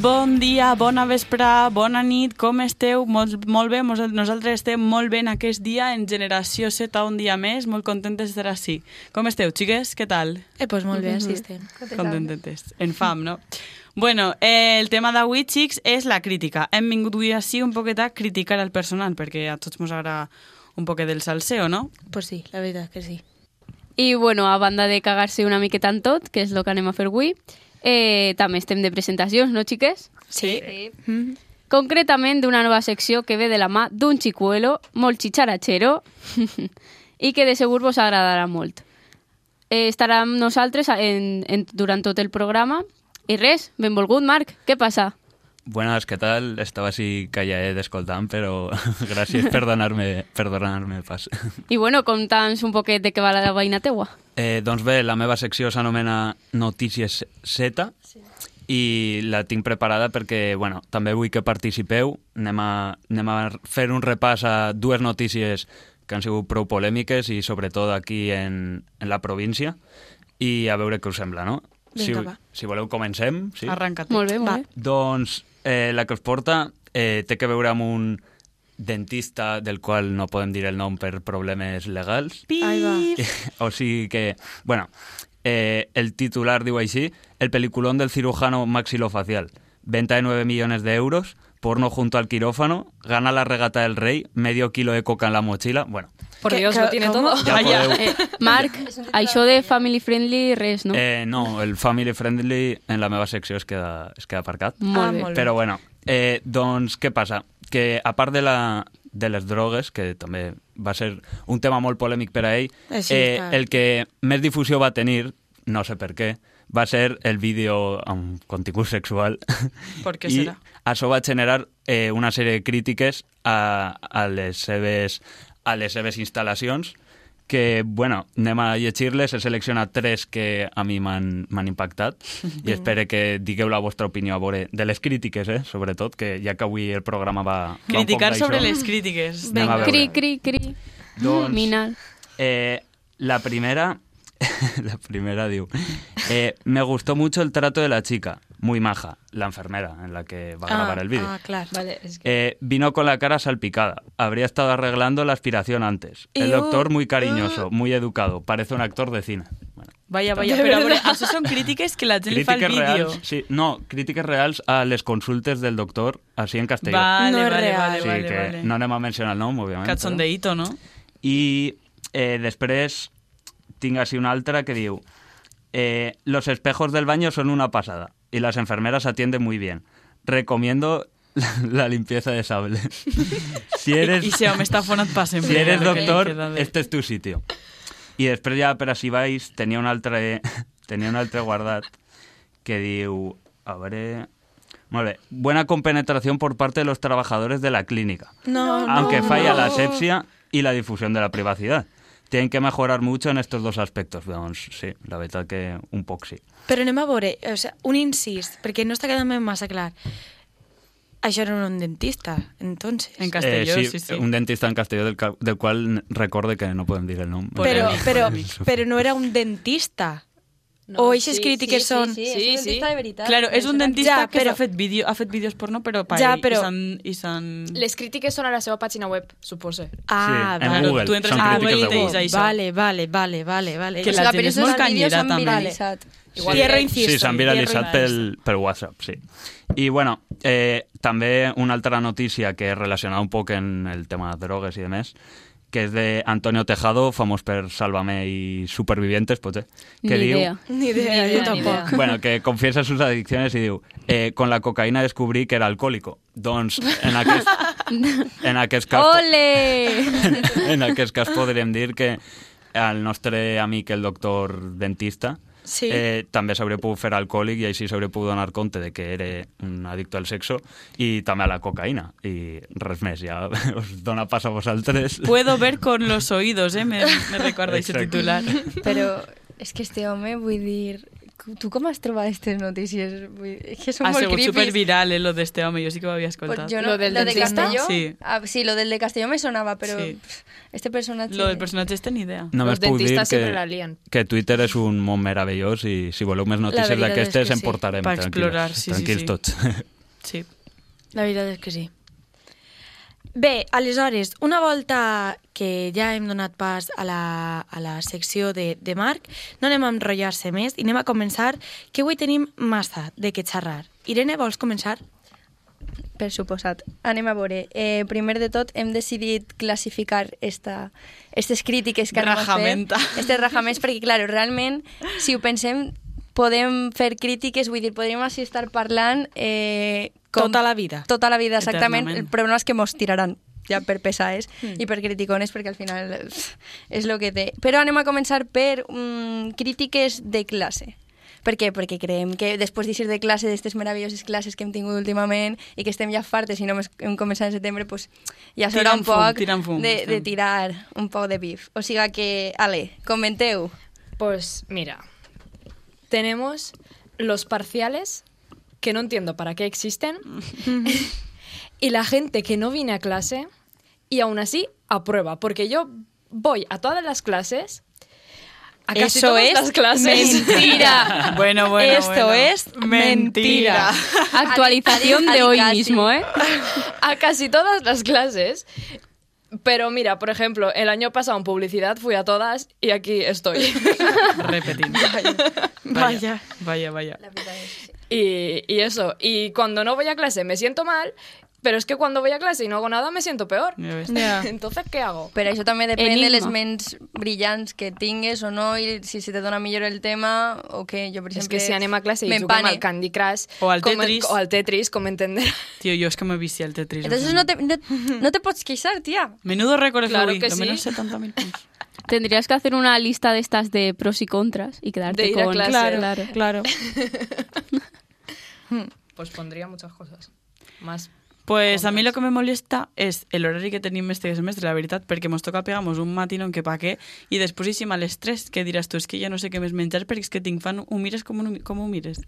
bon dia, bona vesprà, bona nit, com esteu? Molt, molt bé, mos- nosaltres estem molt ben aquest dia en Generació Z un dia més, molt contentes d'estar així. Com esteu, xiques? Què tal? Eh, doncs molt bé, així estem. Contentetes. En fam, no? Bueno, eh, el tema d'avui, xics, és la crítica. Hem vingut avui així un poquet a criticar el personal, perquè a tots mos agrada un poquet del salseo, no? Pues sí, la veritat que sí. I, bueno, a banda de cagar-se una miqueta en tot, que és el que anem a fer avui, eh, també estem de presentacions, no, xiques? Sí. Mm. Concretament d'una nova secció que ve de la mà d'un xicuelo molt xitxaratxero i que de segur vos agradarà molt. Eh, estarà amb nosaltres en, en, durant tot el programa. I res, benvolgut, Marc, què passa? Buenas, què tal? Estava així calladet escoltant, però gràcies per donar-me per donar pas. I bueno, conta'ns un poquet de què va la veïna teua. Eh, doncs bé, la meva secció s'anomena Notícies Z i la tinc preparada perquè, bueno, també vull que participeu. Anem a, anem a fer un repàs a dues notícies que han sigut prou polèmiques i sobretot aquí en, en la província i a veure què us sembla, no? Vinga, va. si, si voleu comencem. Sí? Arranca't. Molt bé, molt Va. bé. Doncs eh, la que us porta eh, té que veure amb un dentista del qual no podem dir el nom per problemes legals. Ahí va. Pip! O sigui que, bueno, eh, el titular diu així, el peliculón del cirujano maxilofacial, venta de 9 millones de euros, porno junto al quirófano, gana la regata del rey, medio kilo de coca en la mochila, bueno, Por ¿Qué- Dios, qué- lo tiene cómo? todo. ja Ai, ja. podeu... Eh, Marc, això de family friendly, res, no? Eh, no, el family friendly en la meva secció es queda, es queda aparcat. Molt Ah, bé. molt bé. Però bueno, eh, doncs què passa? Que a part de, la, de les drogues, que també va ser un tema molt polèmic per a ell, eh, Així, clar. el que més difusió va tenir, no sé per què, va ser el vídeo amb contingut sexual. Per què I serà? això va generar eh, una sèrie de crítiques a, a, les seves, a les seves instal·lacions, que, bueno, anem a llegir-les, he seleccionat tres que a mi m'han m'han impactat i espero que digueu la vostra opinió a veure de les crítiques, eh, sobretot, que ja que avui el programa va... va un poc Criticar sobre d'això. les crítiques. Anem Vinga. a veure. Cri, cri, cri. Doncs- Minal. Eh, la primera, la primera digo, eh, me gustó mucho el trato de la chica, muy maja, la enfermera en la que va a grabar el vídeo. Ah, clar. Vale, es que... Eh, vino con la cara salpicada. Habría estado arreglando la aspiración antes. El Iu, doctor muy cariñoso, muy educado. Parece un actor de cine. Bueno, Vaya, vaya, De però a veure, verdad. això són crítiques que la gent li fa el crítiques vídeo. reales. Sí, no, críticas reales a les consultes del doctor, así en castellano. Vale, No és vale, real. vale, sí, vale, que vale. no anem a mencionar el nom, òbviament. però- Cachondeíto, no? I eh, després tinc així una altra que diu eh, Los espejos del baño son una pasada y las enfermeras atienden muy bien. Recomiendo la, la limpieza de sable. Si eres, I, i si home està fonat pa sempre. si eres el que li doctor, queda de- este es tu sitio. I després ja, per si vais, tenia un altre, tenia un altre guardat que diu... A veure... Molt bé. Buena compenetración por parte de los trabajadores de la clínica No, no. aunque falla la asepsia y la difusión de la privacidad. Tienen que mejorar mucho en estos dos aspectos. Doncs sí, la veritat que un poc sí. Eh, Però anem a veure, o sigui, un incís, perquè no està quedant ben massa clar. Això era un dentista, entonces. En castelló, Eh, sí, sí. Un dentista en castelló del, ca- del qual recorde que no podem dir el Eh, nom. Por Però, el hijo. però, però no era un dentista. No, o eixes sí, crítiques sí, són... sí, sí, és un dentista de veritat. Claro, és un dentista Ja, que però- s'ha fet vídeo, ha fet vídeos porno, però pa Ja, ell, però- i s'han... I s'han... Les crítiques són a la seva pàgina web, suposo. Ah, en vale. Google, tu entres són a crítiques Google i de te dius Google. això. Vale, vale, vale, vale, vale. Que la gent és molt canyera, també. Igual Tierra que- incisa. Sí, s'han viralitzat pel, pel WhatsApp, sí. I, bueno, eh, també una altra notícia que és relacionada un poc en el tema de drogues i demés, que és de Antonio Tejado, famós per Sálvame i Supervivientes, potser, que Ni diu... idea. Ni idea, Ni jo idea, ni idea. tampoc. Bueno, que confiesa sus adicciones y diu eh, con la cocaïna descobrí que era alcohólico. Doncs en aquest, en aquest cas... Ole! En aquest cas podríem dir que el nostre amic, el doctor dentista, Sí. eh, també s'hauria pogut fer alcohòlic i així s'hauria pogut donar compte de que era un addicte al sexo i també a la cocaïna. I res més, ja us dona pas a vosaltres. Puedo ver con los oídos, eh? Me, me recuerda ese Exacte. titular. Però és que este home, vull dir, tu com has trobat aquestes notícies? Vull dir, És que són ha molt sigut creepy. Ah, superviral, eh, lo de este home, jo sí que ho havia Pues escoltat. yo no, ¿Lo lo del del, de dentista? Castelló. Sí. Ah, sí, lo del de Castelló me sonaba, pero Sí. pff, este personaje. Lo del personatge este ni idea. Els Només puc dir dentistes sempre la que, lien. que Twitter és un món meravellós i si voleu més notícies veritat és d'aquestes que en sí. portarem. Pa tranquils. explorar, sí, sí, Tranquils sí. tots. Sí. La veritat és que sí. Bé, aleshores, una volta que ja hem donat pas a la, a la secció de, de Marc, no anem a enrotllar-se més i anem a començar, que avui tenim massa de què xerrar. Irene, vols començar? Per suposat. Anem a veure. Eh, primer de tot, hem decidit classificar esta, estes crítiques que anem Rajamenta. a fer. Estes rajaments, perquè, claro, realment, si ho pensem, podem fer crítiques, vull dir, podríem així estar parlant... Eh, Tota la vida. Tota la vida, Eternament. exactament. Hmm. El problema és que mos tiraran ja per pesades mm. i per criticones, perquè al final eh, és el que té. Però anem a començar per mm, crítiques de classe. Per què? Perquè creiem que després d'eixir de classe, d'aquestes meravelloses classes que hem tingut últimament i que estem ja fartes i només hem començat en setembre, pues, ja s'haurà Tirant un fum, poc tirant fum, de, de estem. tirar un poc de bif. O sigui que, Ale, comenteu. Pues mira, tenemos los parciales, que no entiendo para qué existen, y la gente que no viene a clase y aún así aprueba, porque yo voy a todas las clases, a casi Eso todas es las clases. mentira. Bueno, bueno, Esto bueno. es mentira. Actualización Adi- de hoy Adicasi. mismo, ¿eh? a casi todas las clases. Pero mira, por ejemplo, el año pasado en publicidad fui a todas y aquí estoy. Repetint. Vaya. Vaya, vaya. Y, y eso, y cuando no voy a clase me siento mal, pero es que cuando voy a clase y no hago nada me siento peor. Ja ves. Entonces, ¿qué hago? Però això també depèn Enigma. Enigma. de les ments brillants que tingues o no, i si se te dona millor el tema o què. Jo, per Es exemple, que si anem a clase y juguem m'empane. al Candy Crush O al com- Tetris. o al Tetris, com entenderà. Tio, jo és que m'he vist el Tetris. Entonces no te, no, no te pots queixar, tia. Menudo récord Claro avui, que sí. menos 70.000 punts. Tendrías que hacer una lista de estas de pros y contras y quedarte De ir a con... clase. Claro, Claro, claro. Claro. Pues pondría muchas cosas. Más. Pues a mí lo que me molesta es el horario que tenim este semestre, la veritat, perquè mos toca pegamos un matinón que pa què, i després íssim a les 3, que diràs tu, és que ja no sé què més menjar perquè és que tinc fan, ho mires com, un, com ho mires.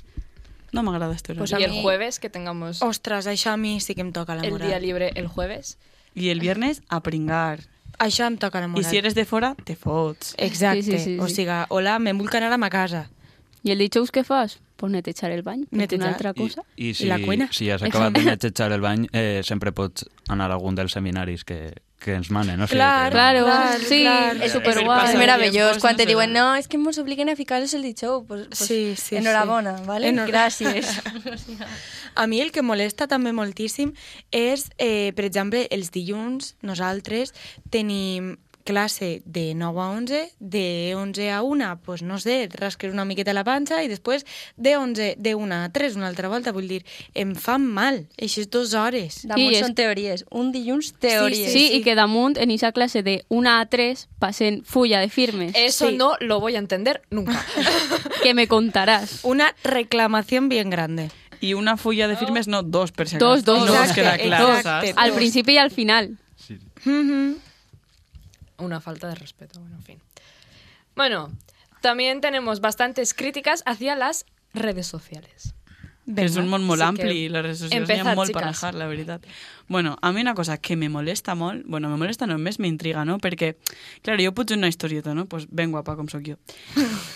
No m'agrada este Pues horari. y el jueves que tengamos Ostres, això a mi sí que em toca la el moral. día libre el jueves. I el viernes a pringar. Això em toca la I moral. si eres de fora, te fots. Exacte. Sí, sí, sí, O sí. sigui, hola, me'n vull anar a ma casa. ¿Y el dicho que fas? Pues netechar el baño. Mete Netejar. una otra cosa. I, i si, I la cuina. si ja s'ha acabat de netxetxar el bany, eh, sempre pots anar a algun dels seminaris que, que ens manen. No? Clar, que, Claro, Claro, sí, claro. es És, súper Eh, pasa és bien, meravellós pues, quan no te sé. diuen no, és que ens obliguen a ficar-los el dijous. Pues, pues, Sí, sí, Enhorabona, sí. ¿vale? Enhora- Gràcies. A mi el que molesta també moltíssim és, eh, per exemple, els dilluns nosaltres tenim classe de 9 a 11, de 11 a 1, pues, no sé, et rasques una miqueta la panxa i després de 11, de 1 a 3, una altra volta, vull dir, em fan mal, aquestes dues hores. Damunt I és- són teories. Un dilluns, teories. Sí, y que Damunt en esa clase de 1 a 3 pasen fulla de firmes. Eso Sí. no lo voy a entender nunca. Que me contarás. Una reclamación bien grande. I una fulla de firmes, no, dos, per si Dos, acaso. dos, No dos. us queda Exacte, clar, exacte. saps? Al Dos. principio y al final. Una falta de respeto, bueno, en fin. Bueno, también tenemos bastantes críticas hacia las redes sociales. Que es un món molt Así ampli que i les redes socials n'hi empezad, ha molt per chicas. negar, la veritat. Bueno, a mi una cosa que me molesta molt, bueno, me molesta no, més m'intriga, no? Perquè, clar, jo pujo una historieta, no? Pues ben guapa com sóc jo.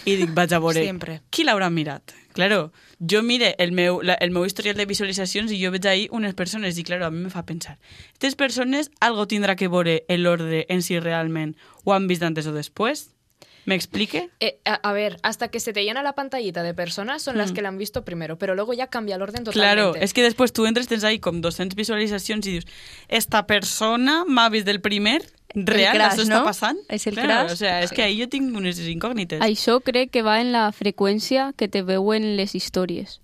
I dic, vaig a veure, Sempre. qui l'haurà mirat? Claro, jo mire el meu, la, el meu historial de visualitzacions i jo veig ahí unes persones i, claro, a mi me fa pensar. Aquestes persones algo tindrà que veure l'ordre en si realment ho han vist antes o després? M'explique? Eh, a, a ver, hasta que se te llena la pantallita de personas son las que la han visto primero, pero luego ya cambia el orden totalmente. Claro, es que después tú entres, tens ahí con 200 visualizaciones y dices, esta persona m'ha vist del primer, real, crash, això està ¿no? passant? És el claro, crash. O sea, es que ahí yo tengo unes incógnites. Això cree que va en la frecuencia que te veo en les historias.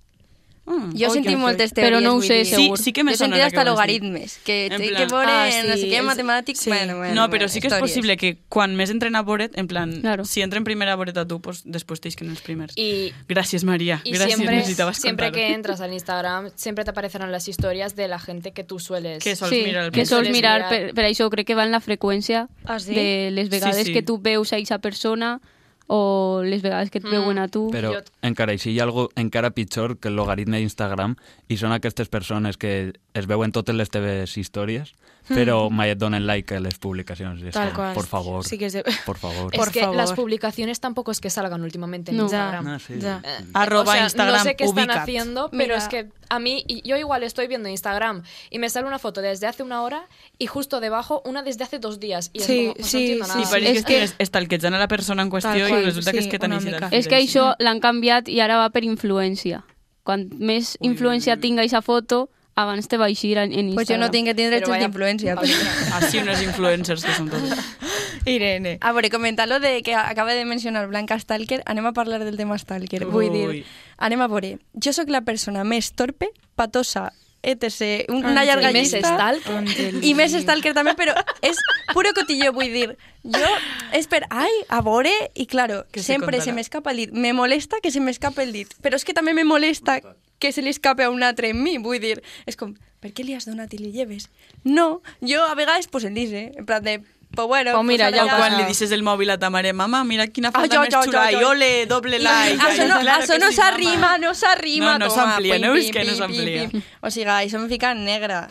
Mm. Jo he sentit moltes Però teories, no ho vull sé, dir. segur. Sí, sí que me jo he sona sentit la que hasta vols dir. logaritmes, que En té plan- que veure Ah, en no sé sí, què, és- matemàtics, sí. bueno, bueno, No, bueno, pero sí que es històries. posible que quan més entren a Boret, en plan, Claro. si entren primer a Boret a tu, pues després t'eix que en els primers. Y, Gràcies, Maria. y Gràcies, siempre, necessitaves siempre que contar-ho. entras al Instagram, siempre te aparecerán las historias de la gente que tú sueles. Que sols Sí, mirar el que primer. sols Sols mirar, mirar. per, per això crec que va en la freqüència Ah, sí? de les Sí, vegades sí. que tu veus a aquesta persona o les vegades que et Mm, veuen a tu. Però Jo- encara així hi ha algo encara pitjor que el logaritme d'Instagram i són aquestes persones que es veuen totes les teves històries però mai et donen like a les publicacions. I és Hmm. Tal com, cual. Por favor, Sí que se- por favor. Es Por que favor. las publicaciones tampoco es que salgan últimamente en No. Instagram. Ah, sí. Ya. Eh, Arroba o sea, Instagram, No sé qué están ubicat. haciendo, pero Mira. es que a mí, y yo igual estoy viendo Instagram y me sale una foto desde hace una hora y justo debajo una desde hace dos días. Y Sí, es como, pues sí, no entiendo sí, I nada. pareix que, És que que- estan estalquejant a la persona en qüestió Tal i qual, resulta que és sí, que tan una així. mica. És que això l'han canviat i ara va per influència. Quan més influència tinga aquesta foto, abans te va eixir en, en Instagram. Pues yo no tengo que tener Pero derechos de vaya influencia. pero- papelera. Així unes influencers que són totes. Irene. A veure, comentar lo de que acaba de mencionar Blanca Stalker, anem a parlar del tema Stalker. Vull Ui. dir, anem a veure. Jo sóc la persona més torpe, patosa, etc. un- Una Àngel. llarga I més llista. stalker. I més stalker també, però és puro cotillo, vull dir. Jo, és per, ai, a veure, i claro, Que se sempre contarà. se m'escapa el dit. Me molesta que se m'escape el dit, però és que també me molesta que se li escape a un altre en mi, vull dir. És com, per què li has donat i li lleves? No, jo a vegades pues, el dice, en plan de, pues bueno... Oh, Pues mira, ara ja ho Quan passa. li dices el mòbil a ta mare, mama, mira quina falda jo, més jo, jo, xula, i jo. ole, doble like. Això Ah, no, Ai, claro això que no sí, mama. s'arrima, no s'arrima. No, no toma, s'amplia, pim, no? És pim, que no pim, pim, s'amplia. pim. O sigui, això em fica negra.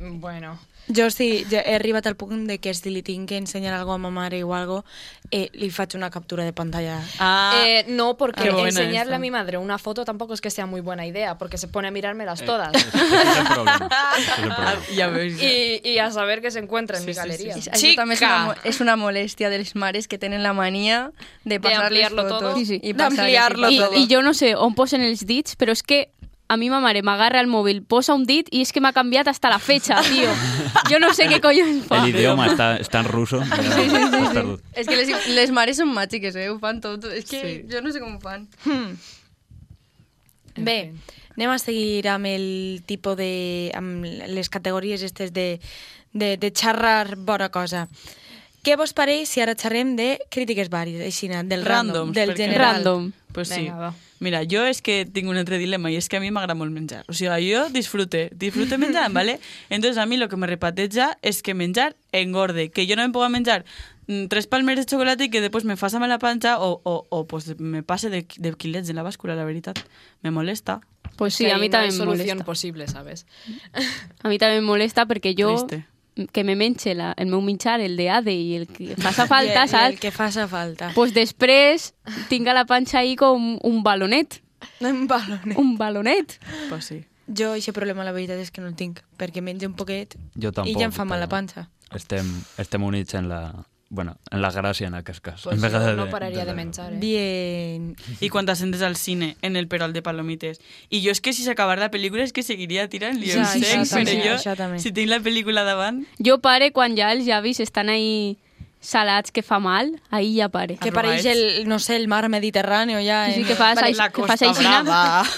Bueno, Jo sí, ja he arribat al punt de que si li tinc que ensenyar alguna cosa a ma mare o algo, eh, li faig una captura de pantalla. Ah, Eh, no, porque qué buena enseñarle esta. a mi madre una foto tampoco es que sea muy buena idea, porque se pone a mirármelas todas. Ese Eh, és el problema. Ese és el ah, problema. ja veus. Ja. Y, y a saber qué se encuentra en Sí, mi sí, sí, galería. sí. Això també és una, mo- és una molèstia dels mares que tenen la mania de passar les ampliarlo fotos. todo. Sí, sí. I passar D'ampliarlo i I, passar. I jo no sé on posen els dits, però és que a mi ma mare m'agarra el mòbil, posa un dit i és que m'ha canviat hasta la fecha, tio. Jo no sé què collons fa. El idioma està, està en russo. Ja, sí, sí, sí, sí. És que les, les mares són màgiques, eh? Ho fan tot. És que sí. jo no sé com ho fan. Bé, anem a seguir amb el tipus de... amb les categories estes de, de, de xerrar bona cosa. Què vos pareix si ara xerrem de crítiques vàries, així, del random, Randoms, del perquè- general? Random. Pues sí. Venga, va. Mira, jo és que tinc un altre dilema i és que a mi m'agrada molt menjar. O sigui, jo disfrute, disfrute menjant, ¿vale? Entonces a mi lo que me repateja és que menjar engorde, que jo no em puga menjar mm, tres palmeres de xocolata i que després me faça mala panxa o, o, o pues me passe de, de quilets en la bàscula, la veritat. Me molesta. Pues sí, Que a ahí mi no hay també em solución molesta. posible, ¿sabes? A mi també em molesta perquè jo... Triste. Que me menxe la, el meu minxar, el de ADE i el que passa I- i falta, El saps? que faça falta. Pues després tinga la panxa ahí com un balonet. Un balonet. Un balonet. Pues sí. Jo aquest problema la veritat és que no el tinc, perquè menjo un poquet Jo tampoc. i ja em fa mal la però panxa. Estem, estem units en la, bueno, en la gràcia en aquest cas. Pues en yo vegades no pararía de la- menchar. ¿eh? Bien. Y cuando ascendes al cine en el Peral de Palomites. Y yo es que si se acabara la película es que seguiría tirando. Ja, Sí, això també, pero això yo, també. si tinc la película davant... Jo pare quan ja els llavis estan ahí salats que fa mal, ahí ja pare. Que Arrugats. pareix el, no sé, el mar Mediterráneo ja. Sí, en- sí, que fas, Vale, així- que fas així,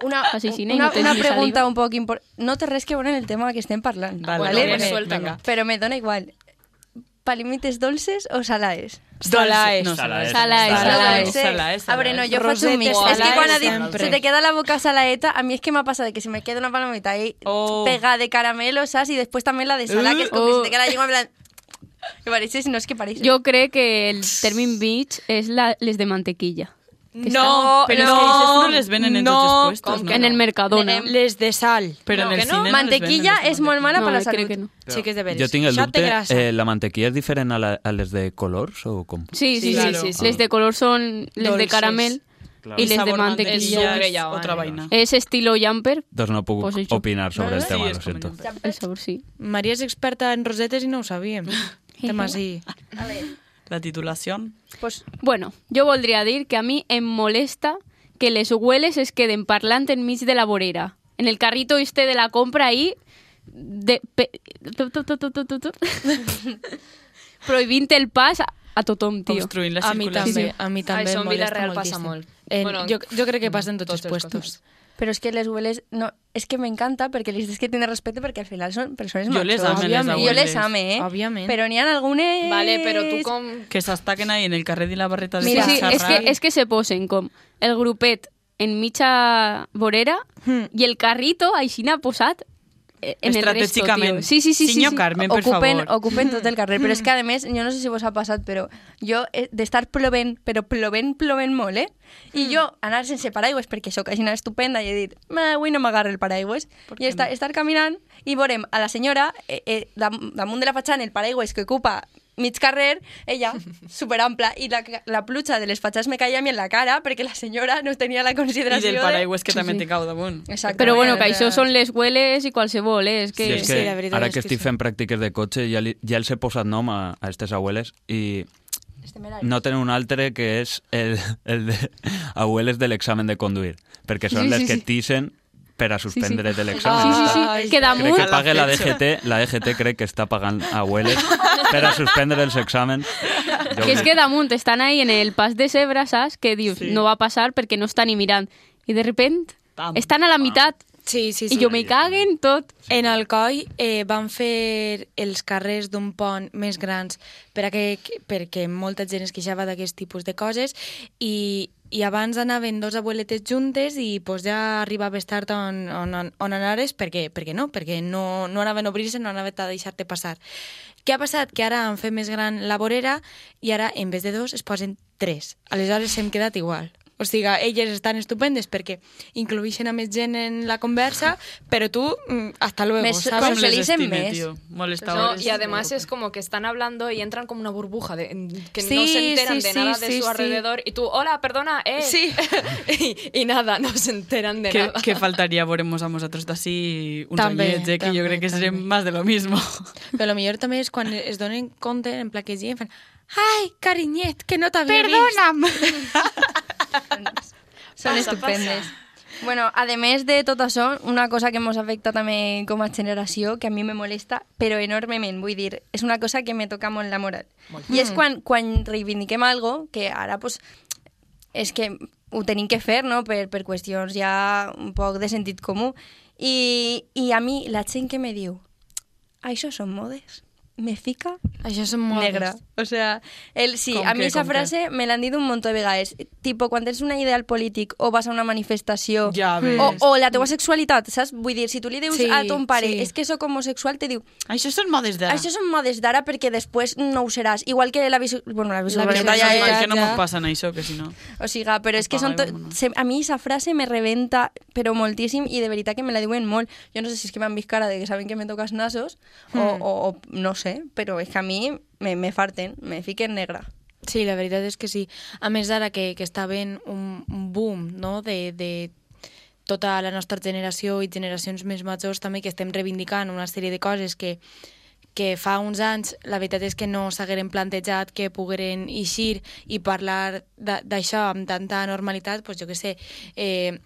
Una, Asesina i una, no tens una ni pregunta saliva. un poc important. No té res que veure en el tema que estem parlant. Vale, Bueno, vale, pues Me- suéltalo. venga. Però me dona igual. Palimites dolces o salaes? Dolaes. No, Salaes. Salaes, salaes. Dolces. Salaes, A veure, no, jo faig Rosetes, un mix. És que salaes, quan ha dit, sempre. se te queda la boca salaeta, a mi és que m'ha passat que si me queda una palomita ahí Oh. pega de caramelo, saps? I després també la de sala, que és Uh. com que se te queda la llengua en plan... Que pareixes, no és que pareixes. Jo crec que el termin beach és la, les de mantequilla. que No, pero es que dices, no les venen en no, tots els puestos, estan no? En el Mercadona. Les de sal. Pero No, en el que cine no. no les Mantequilla venen, és molt mala no, per la crec salut. que no. Sí que és de veres. Jo tinc el Shot de dubte, grasa. eh, la mantequilla és diferent a, la, a les de colors o com? Sí, sí, sí. Sí, sí, claro. sí, sí. Les de color són les de Dolces. caramel i les de Sabor mantequilla. mantequilla. es otra vaina. És estilo jumper, Doncs no puc Pues he dicho. opinar sobre el Sí, tema, és Este lo com siento. el- el sabor sí. Maria és experta en rosetes i no ho sabíem. Tema així. La titulación. Pues, Bueno, jo voldria dir que a mi em molesta que les hueles es queden parlant enmig de la vorera. En el carrito este de la compra ahí... De, pe, tu, tu, tu, tu, tu, tu, tu. prohibint el pas a, a tothom, tio. Obstruint la A mi circulación. també, a mi també Ai, em som molesta Vila-real, moltíssim. passa molt. En, Bueno, jo, jo crec que passa en tots, tots els els puestos. costos. però és que les hueles... No, és que m'encanta perquè les tens que tenir respecte perquè al final són persones Jo les machotas. ame, les Jo les abueles. ame, eh? Òbviament. Però n'hi ha algunes... Vale, pero tú con... Que se ataquen ahí en el carrer de la barreta de Sí, Mira, sí, Pacharra. és que, és que se posen com el grupet en mitja vorera Mm. Hmm. i el carrito aixina posat eh, en el resto, Estratégicament. tío. Sí, sí, sí. sí, Senyor sí. Carmen, per ocupen, favor. ocupen tot el carrer, però és que a més, jo no sé si vos ha passat, però jo eh, d'estar plovent, però plovent, plovent molt, eh? I Mm. jo anar sense paraigües, perquè sóc aixina estupenda, i he dit, "Ma, avui no m'agarra el paraigües. I què estar, estar caminant i veurem a la senyora, eh, eh, dam- damunt de la fatxana, el paraigües que ocupa mig carrer, ella, superampla, i la, la pluja de les fatxades me caia a mi en la cara perquè la senyora no tenia la I consideració del paraigües que també sí. te cau damunt. De... Exacte. Però bueno, que Era- això són les hueles i qualsevol, eh? És que... Sí, és Sí, que la veritat ara és que que estic sí. fent pràctiques de cotxe ja, li, ja els he posat nom a, a aquestes abueles i no tenen un altre que és el, el de abueles de l'examen de conduir, perquè són Sí, les sí, que sí. t'ixen per a suspendre de Sí, Ah, l'examen. sí, sí. Ai, que Crec damunt... que pague la La fecha. DGT, la DGT crec que està pagant abueles per a suspendre els exàmens. Jo Que ho es dic. que damunt estan ahí en el pas de zebra, saps? Que dius, Sí. no va a pasar perquè no estan ni mirant. I de repente Pam, estan a la mitad Sí, sí, i sí. jo me caguen tot. En Alcoi eh, van fer els carrers d'un pont més grans per a que, perquè molta gent es queixava d'aquest tipus de coses i, i abans anaven dos abueletes juntes i pues, ja arribaves tard on, on, on anaves perquè, perquè no, perquè no, no anaven a obrir-se, no anaven a deixar-te passar. Què ha passat? Que ara han fet més gran la vorera i ara en vez de dos es posen tres. Aleshores hem quedat igual. O sigui, elles estan estupendes perquè incluïxen a més gent en la conversa, però tu, mm, hasta luego, Més Com ¿sabes? com- Pues les socialicen estime, més. tio. No, Molestadores. y además es como que están hablando y entran como una burbuja de, en- que no Sí, se enteran sí, de sí, nada de sí, su sí. alrededor y tú, hola, perdona, eh. Sí. y, y nada, no se enteran de Que, nada. que faltaria veuremos a nosaltres d'ací uns També, anyets, eh, que jo també, crec que serem també. más de lo mismo. Però millor també és quan es donen compte en pla que gent fan Ai, carinyet, que no t'havia vist. Són Passa, estupendes. Bueno, a més de tot això, una cosa que ens afecta també com a generació, que a mi me molesta, però enormement, vull dir, és una cosa que me toca molt la moral. I és quan, quan reivindiquem algo que ara, pues, és que ho tenim que fer, no?, per, per qüestions ja un poc de sentit comú. I, I a mi, la gent que me diu, això són modes, me fica Això són modes. negra. O sea, el, sí, Com a mi que, esa com frase me la han dit un montón de vegades. Tipo, quan tens una ideal polític o vas a una manifestació Ja ves. o, o la teua sexualitat, saps? Vull dir, si tu li dius Sí, a ton pare sí. és que sóc homosexual, te "Ah, diu Això són modes d'ara. això són modes d'ara perquè després no ho seràs. Igual que la bisu... Bueno, la Ja, bisexualitat ja, ja ja, és... que no ja. mos passen això, que si no... O siga, però és que són... To... Apaguem-ho, no? se- A mi esa frase me reventa, però moltíssim, i de veritat que me la diuen molt. Jo no sé si és que m'han vist cara de que saben que me toques nasos, o, o, o no sé, però és que a mi me, me farten, me fiquen negra. Sí, la veritat és que sí. A més, ara que, que està ben un, un boom no? de, de tota la nostra generació i generacions més majors també que estem reivindicant una sèrie de coses que, que fa uns anys la veritat és que no s'hagueren plantejat que pogueren eixir i parlar de- d'això amb tanta normalitat, doncs jo que sé, eh,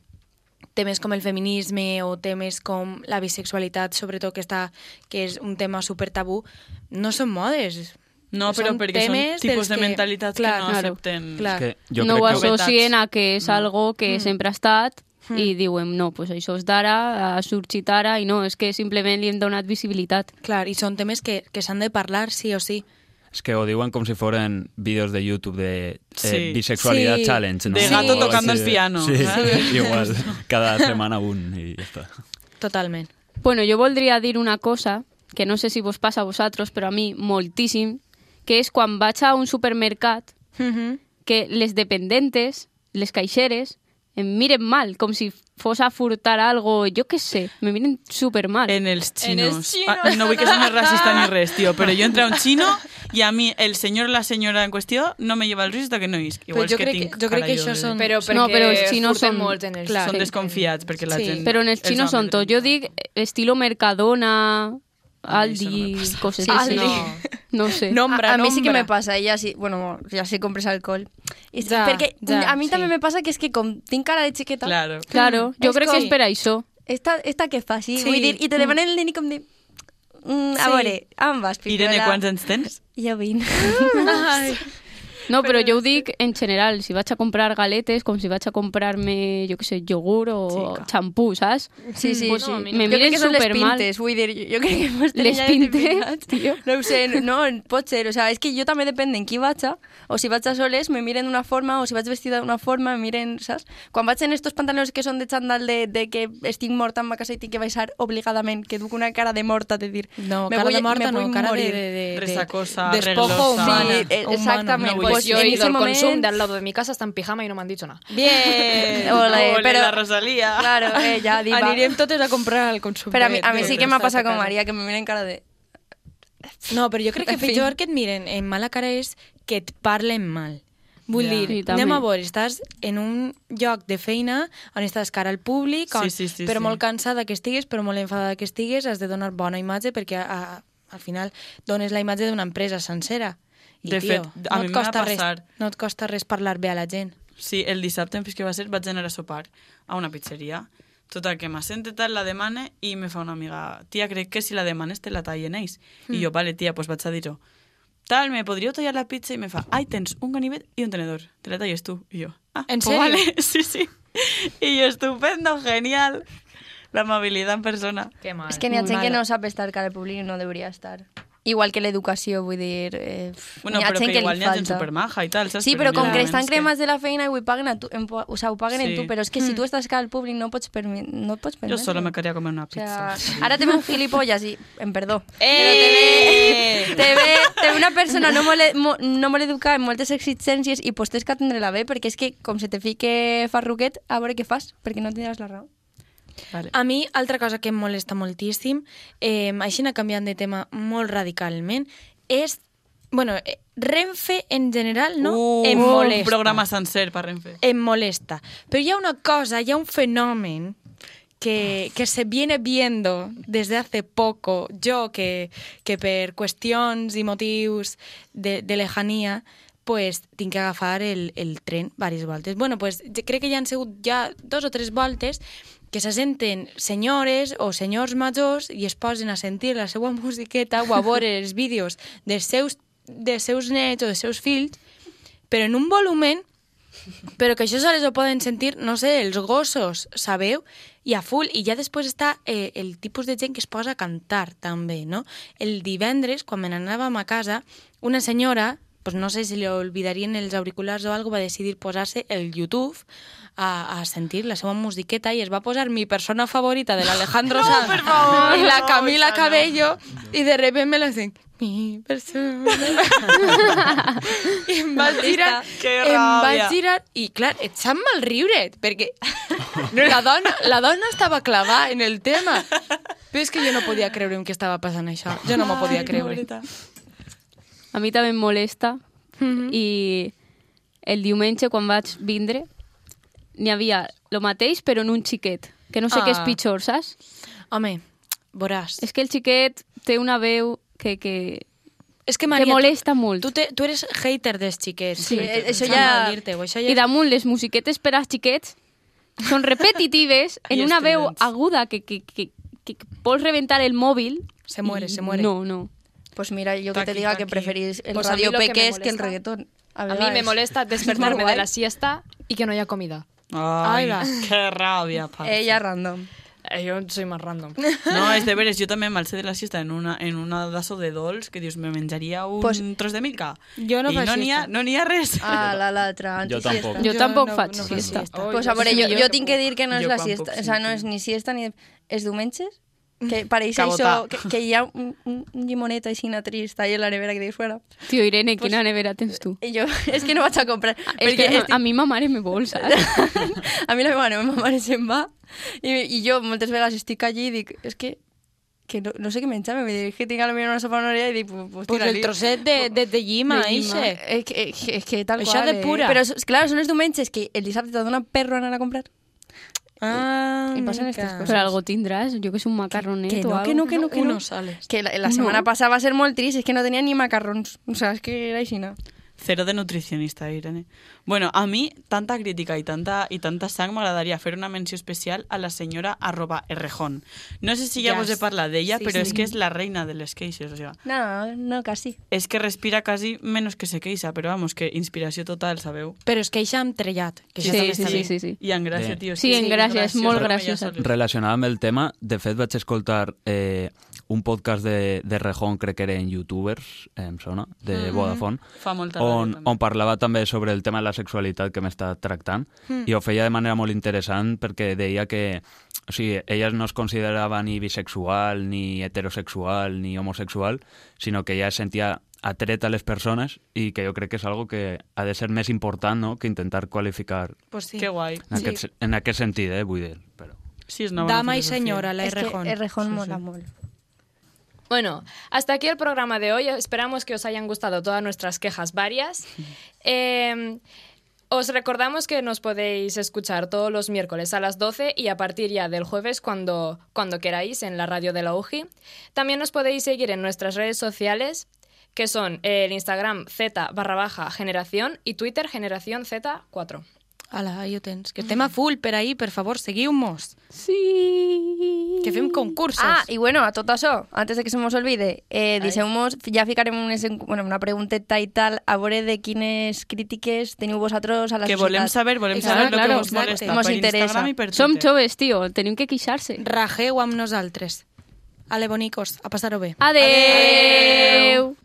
temes com el feminisme o temes com la bisexualitat, sobretot que, està, que és un tema super tabú, no són modes. No, però Són perquè són temes tipus dels de que- mentalitats que clar, no claro, accepten. clar. És que jo no ho crec que... associen a que és algo que sempre ha estat i diuen, no, pues això és d'ara, ha sorgit ara, i no, és que simplement li hem donat visibilitat. Clar, i són temes que, que s'han de parlar sí o sí. És que ho diuen com si foren vídeos de YouTube de eh, Sí. bisexualidad Sí. challenge. No? De gato O així tocando el de- piano, Sí, ¿sabes? igual. Cada setmana un i ja està. Totalment. Bueno, jo voldria dir una cosa, que no sé si vos passa a vosaltres, però a mi moltíssim, que és quan vaig a un supermercat Mhm. que les dependentes, les caixeres, em miren mal, com si fos a furtar algo, jo què sé, me miren super mal. En els En chinos. els chinos. Ah, no vull que sonar racista ni res, tio, però jo entro a un xino i a mi el senyor o la senyora en qüestió no me lleva el risc de que no isc. Igual Però jo és que crec que- tinc jo crec cara que jo això de- són- Pero No, porque pero si no surten son- molt en el- clar. Són Sí. desconfiats perquè la Sí. gent... Però en els xinos són tot. Jo dic estilo Mercadona, A mi això no Aldi, me passa. coses Aldi. així. No, no sé. Nombra, a, a mí sí que nombra. me pasa, ella sí, bueno, ya sí compres alcohol. Y- Ya, porque ya, a mí sí. también me pasa que es que con tinc cara de chiqueta, Claro. Claro, jo És crec com- que és per això. esta, esta que fa sí, Sí. vull dir, i te demanen el nini com de... Mm, a Sí. veure, ambas, picola. Irene, quants anys tens? Jo vinc. Ai. No, però jo ho dic en general, si vaig a comprar galetes, com si vaig a comprar-me, jo què sé, iogurt o Chica. xampú, saps? Sí, sí. Pues No, a mi no. me jo crec miren que són les supermal. pintes, vull dir, jo, jo crec que pues, mos Les pintes, tio. No ho sé, no, no, pot ser, o sea, és que jo també depèn en qui vaig, a, o si vaig a soles me miren d'una forma, o si vaig vestida d'una forma, me miren, saps? Quan vaig en estos pantalons que són de xandall de, de que estic morta en ma casa i tinc que baixar obligadament, que duc una cara de morta, de dir, No, me cara vull, de morta, me vull no, cara de, morir. de, de, de- Resacosa, despojo reglosa. humana. Sí, eh, humano. exactamente. No, Pues pues, yo en he ido ese al momento- consum de al lado de mi casa, está en pijama y no me han dicho nada. Bien. Ole, pero- la Rosalía. Claro, eh, ja, diva. Anirem totes a comprar al consum. Però a mi, de- a mi de sí que m'ha resta passat de com casa. Maria, que me miren cara de... No, però jo crec que En fi. pitjor que et miren en mala cara és que et parlen mal. Vull Ja. dir, Sí, també. anem a veure, estàs en un lloc de feina on estàs cara al públic, on, Sí, sí, sí, però sí. molt cansada que estigues, però molt enfadada que estigues, has de donar bona imatge perquè a, a, al final dones la imatge d'una empresa sencera. I, De tio, fet, a no mi et m'ha costa res, passat. No et costa res parlar bé a la gent. Sí, el dissabte en que va ser vaig anar a sopar a una pizzeria. Total, que m'assente tal, la demane i me fa una amiga, tia, crec que si la demanes te la tallen ells. I Mm. jo, vale, tia, pues vaig a dir-ho. Tal, me podríeu tallar la pizza? I me fa, ai, tens un ganivet i un tenedor, te la talles tu. I jo, ah, ¿En pues serio? vale, sí, sí. I jo, estupendo, genial. La amabilidad en persona. Qué mal. És que n'hi ha gent que Mala. no sap estar cara al públic i no deuria estar. Igual que l'educació, vull dir... Eh, pff, Bueno, n'hi ha però gent que igual li n'hi ha gent falta. supermaja i tal, saps? Sí, n'hi però ha com que moments estan cremats de la feina i ho paguen, a tu, en, po- o sea, ho paguen en Sí. Mm. tu, però és que si tu estàs cara al públic no pots permetre. No pots Jo permetre. sola me quería comer una O sea, pizza. ara te ve un gilipollas i... Em perdó. Eh! Però te ve, te ve, te ve una persona no molt, e- mo, no molt educada en moltes exigències i pues tens que atendre-la bé perquè és que com se te fique farruquet, a veure què fas, perquè no tindràs la raó. Vale. A mi, altra cosa que em molesta moltíssim, eh, així anar canviant de tema molt radicalment, és... Bueno, eh, Renfe en general no Uh, em un molesta. programa sencer per Renfe. Em molesta. Però hi ha una cosa, hi ha un fenomen que, que se viene viendo desde hace poco. Jo, que, que per qüestions i motius de, de lejania, pues, tinc que agafar el, el tren diverses voltes. Bueno, pues, ja- crec que ja han sigut ja dos o tres voltes que se senten senyores o senyors majors i es posen a sentir la seva musiqueta o a veure els vídeos dels seus, dels seus nets o dels seus fills, però en un volumen però que això sols ho poden sentir, no sé, els gossos, sabeu? I a full. I ja després està eh, el tipus de gent que es posa a cantar, també, no? El divendres, quan me n'anàvem a casa, una senyora, pues no sé si li olvidarien els auriculars o algo, va decidir posar-se el YouTube a, a sentir la seva musiqueta i es va posar mi persona favorita de l'Alejandro no, Sanz favor, i la no, Camila Isa, no. Cabello i de repente me la sent mi persona i em vaig girar Que em vaig ràbia. girar i clar, et sap mal riure't perquè la dona, la dona estava clavada en el tema però és que jo no podia creure en què estava passant això jo no m'ho podia creure A mi també em molesta Mhm. i el diumenge quan vaig vindre n'hi havia lo mateix però en un xiquet, que no sé què és Ah. pitjor, saps? home, veuràs És que el xiquet té una veu que, que és que Maria, molesta molt. tu, te, tu eres hater dels xiquets Sí, eh, això Em ja- sap mal dir-te-ho, això I ja... damunt, les musiquetes per als xiquets són repetitives en I una veu estridents. aguda que, que, que, que vols reventar el mòbil. Se muere, i se muere. No, no. Pues mira, yo que Taqui, te diga que taqui. preferís el Pues a mí radio lo que me peques que el molesta- reggaetón. A mí me veces. molesta despertarme de la siesta y que no haya comida. Ay, Ahí va. qué rabia, parce. Ella random. Eh, yo soy más random. No, es de veres. Yo también mal sé de la siesta en una, en una daso de dolç que Dios me menjaría un Pues- tros de milka. Jo no I faig no n'hi ha, siesta. no n'hi ha res. Ah, la latra. Yo antisiesta. tampoco. Jo tampoc faig faig siesta. Pues a por ello, yo tengo que decir que no es Yo la tampoco, siesta. O sí, sea, no tío. es ni siesta ni... Es dumenches. Mm. Que paréis Cabotá. eso, que, que ya un, un un limoneta y sin trista ahí en la nevera que tenéis fuera. Tio, Irene, quina nevera tens tu? Y yo, es que no vas a comprar. Ah, És perquè este- que estic- a mi ma mare me vol, saps? a mi la meva mare, ma mare se'n va i, i jo moltes vegades estic allí i dic, és que, que no, no sé què menjar, me dic, que tinc a la meva una sopa en orella i dic, pues, pues, pues el trosset de, de, de llima, de llima. ixe. És que, és que, és que tal Això qual, de pura. Eh? Però, s- clar, són els diumenges que el dissabte te dona perro anar a comprar. Ah, I passen mica. estes coses. Però algo tindràs, jo que és un macarronet que o no, algo. que no, que no, que no. Unos sales. Que la, la setmana passada va ser molt trist, és que no tenia ni macarrons. O sea, és que era així, no. Cero de nutricionista, Irene. Bueno, a mí tanta crítica y tanta y tanta sang m'agradaria fer una menció especial a la senyora arroba Errejón. No sé si ja Ja vos he s- parlat d'ella, sí, però sí. és que és la reina de les queixes, o sigui, No, no, casi. és que respira quasi menys que se queixa, però vamos, que inspiració total, sabeu? Però es queixa amb trellat, que Sí, això també sí, està sí, bé. sí, sí. I en gràcia, Bé. tio. és Sí, que en és gràcia, és molt graciosa. graciosa. Relacionada amb el tema, de fet vaig escoltar eh, un podcast de, de Rejón, crec que era en YouTubers, em sona, de Mm-hmm. Vodafone, Fa molta ràbia, on, també. on parlava també sobre el tema de la sexualitat que m'està tractant Hmm. i ho feia de manera molt interessant perquè deia que o sigui, elles no es considerava ni bisexual, ni heterosexual, ni homosexual, sinó que ella es sentia atret a les persones i que jo crec que és algo que ha de ser més important no? que intentar qualificar Pues sí. Que guai. en, sí. aquest, en aquest sentit, eh, vull dir. Però... Sí, és una bona Dama i filosofia. senyora, la Es que Errejón. Errejón Sí, sí. mola mucho. Bueno, hasta aquí el programa de hoy. Esperamos que os hayan gustado todas nuestras quejas varias. Eh, os recordamos que nos podéis escuchar todos los miércoles a las 12 y a partir ya del jueves cuando, cuando queráis en la radio de la UJI. También nos podéis seguir en nuestras redes sociales que son el Instagram Z barra baja generación y Twitter generación Z4. Ala, ahí ho tens. Que estem a full per ahí, per favor, seguiu-nos. Sí. Que fem concursos. Ah, y bueno, a todo eso, antes de que se nos olvide, eh, dixemos, ya ficaremos unes en- bueno, una pregunteta y tal, a veure de quines crítiques teniu vosaltres a la Que volem societat. saber, volem Exacte, Ah, saber el que claro, vos exacte. molesta Mos per interessa. Instagram i per Twitter. Som joves, tio, tenim que queixar-se. Rajeu amb nosaltres. Ale, bonicos, a passar-ho bé. Adeu.